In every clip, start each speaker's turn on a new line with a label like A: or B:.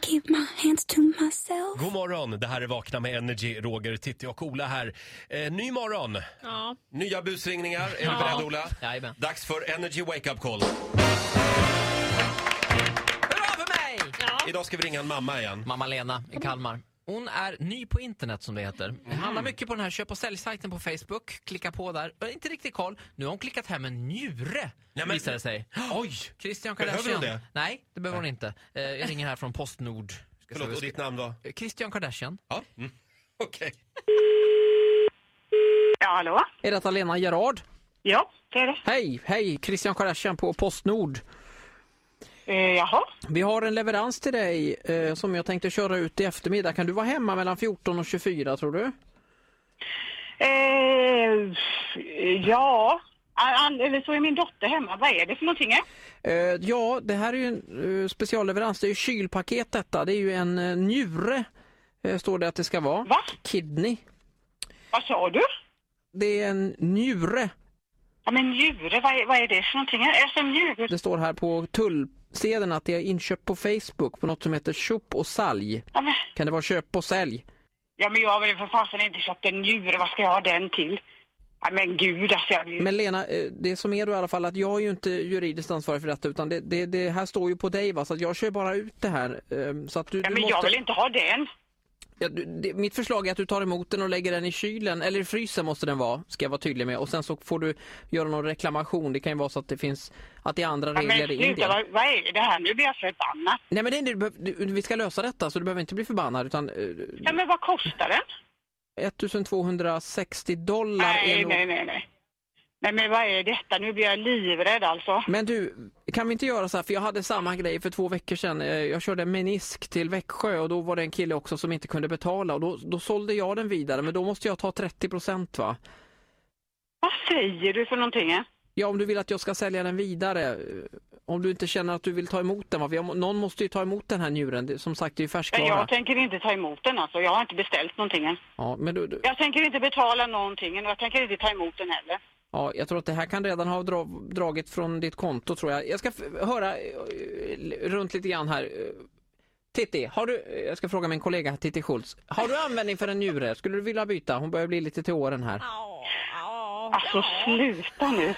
A: keep my hands to myself.
B: God morgon, det här är Vakna med Energy, Roger, Titti och Ola här. Eh, ny morgon,
C: Ja.
B: nya busringningar. Är du beredd Ola?
D: Jajamän.
B: Dags för Energy Wake Up Call.
D: Hurra för mig!
C: ja.
B: Idag ska vi ringa en mamma igen.
D: Mamma Lena i Kalmar. Hon är ny på internet som det heter.
B: Mm.
D: Handlar mycket på den här köp och säljsajten på Facebook. Klicka på där. Jag har inte riktigt koll. Nu har hon klickat hem en njure,
B: Nej, men-
D: visar det sig.
B: Oj!
D: Christian
B: Behöver
D: Kardashian.
B: hon det?
D: Nej, det behöver hon inte. Eh, Jag ringer här från Postnord. Ska se vad
B: Förlåt,
D: vi
B: och
D: ska-
B: ditt namn var?
D: Eh, Christian Kardashian.
B: Ja. Mm. Okej.
E: Ja, hallå?
D: Är detta Lena Gerard?
E: Ja, det är det.
D: Hej, hej! Christian Kardashian på Postnord.
E: Eh, jaha?
D: Vi har en leverans till dig eh, som jag tänkte köra ut i eftermiddag. Kan du vara hemma mellan 14 och 24 tror du?
E: Eh, ja, An- an- eller så är min dotter hemma. Vad är det för någonting? eh?
D: Eh, ja, det här är ju en eh, specialleverans. Det är ju kylpaket detta. Det är ju en eh, njure, eh, står det att det ska vara.
E: Va?
D: Kidney.
E: Vad sa du?
D: Det är en njure.
E: Ja, men njure, vad är, vad är det för någonting? eh? Alltså njure?
D: Det står här på tullsedeln att det är inköp på Facebook på något som heter Shop och salg.
E: Ja, men,
D: Kan det vara köp och sälj?
E: ja, men jag har väl för fasen inte köpt en njure. Vad ska jag ha den till? Ja, men gud, alltså jag...
D: Men Lena, eh, det som är då i alla fall att jag är ju inte juridiskt ansvarig för detta utan det, det, det här står ju på dig va, så att jag kör bara ut det här. eh, Så att du,
E: ja,
D: du
E: men
D: måste...
E: jag vill inte ha den.
D: Ja, du, det, mitt förslag är att du tar emot den och lägger den i kylen, eller i frysen måste den vara, ska jag vara tydlig med. Och sen så får du göra någon reklamation. Det kan ju vara så att det finns, att det är andra
E: Ja,
D: regler
E: men
D: i Indien.
E: sluta, vad, vad är det här? Nu blir jag förbannad.
D: Nej men det, är inte- du, behöver- du, vi ska lösa detta så du behöver inte bli förbannad utan eh,
E: Ja, men vad kostar den?
D: 1260 dollar är
E: Nej,
D: nog...
E: nej, nej, nej. Nej, men vad är detta? Nu blir jag livrädd alltså.
D: Men du, kan vi inte göra så här, för jag hade samma grej för två veckor sedan. Eh, Jag körde en menisk till Växjö och då var det en kille också som inte kunde betala och då, då sålde jag den vidare men då måste jag ta 30 procent va?
E: Vad säger du för någonting? eh?
D: Ja, om du vill att jag ska sälja den vidare. eh, Om du inte känner att du vill ta emot den. Va? För jag må- Någon måste ju ta emot den här njuren. Det- Som sagt, det är ju
E: Nej,
D: färskvara.
E: jag tänker inte ta emot den alltså. Jag har inte beställt någonting än.
D: Ja, men du, du,
E: Jag tänker inte betala någonting än och jag tänker inte ta emot den heller.
D: ja, jag tror att det här kan redan ha dra, dragit från ditt konto tror jag. Jag ska f- höra eh, l- runt lite grann här. Eh, Titti, har du, eh, jag ska fråga min kollega här, Titti Schultz. Har du användning för en njure? Skulle du vilja byta? Hon börjar bli lite till åren här.
C: Ja, ja.
E: Alltså sluta nu.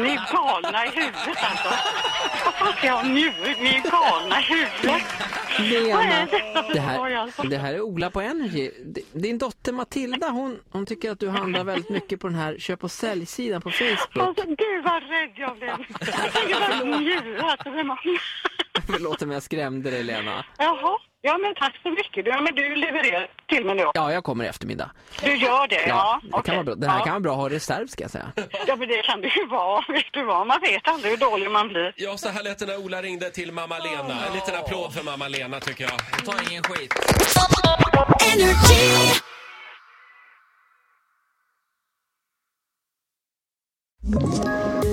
E: Ni är galna i huvudet alltså. Vad fan ska jag ha nu? Ni är galna i huvudet. Vad är detta för
D: Det
E: skoj
D: här,
E: alltså?
D: det här är Ola på Energy. D- Din dotter Matilda hon, hon tycker att du handlar väldigt mycket på den här köp och säljsidan på Facebook.
E: Alltså gud vad rädd jag blev. Jag tänker bara njura alltså. vem har-
D: Förlåt om jag skrämde dig Lena.
E: Jaha. Ja men tack så mycket. Ja men du levererar till mig nu.
D: Ja, jag kommer i eftermiddag.
E: Du gör det? Ja.
D: det kan
E: okej.
D: vara bra. Den här
E: ja.
D: kan vara bra att ha i reserv ska jag säga.
E: ja men det kan det ju vara. Vet du vad? Man vet aldrig hur dålig man blir.
B: Ja, så här lät det när Ola ringde till mamma Lena. En liten applåd för mamma Lena tycker jag.
D: Ta ingen skit.
A: Energy.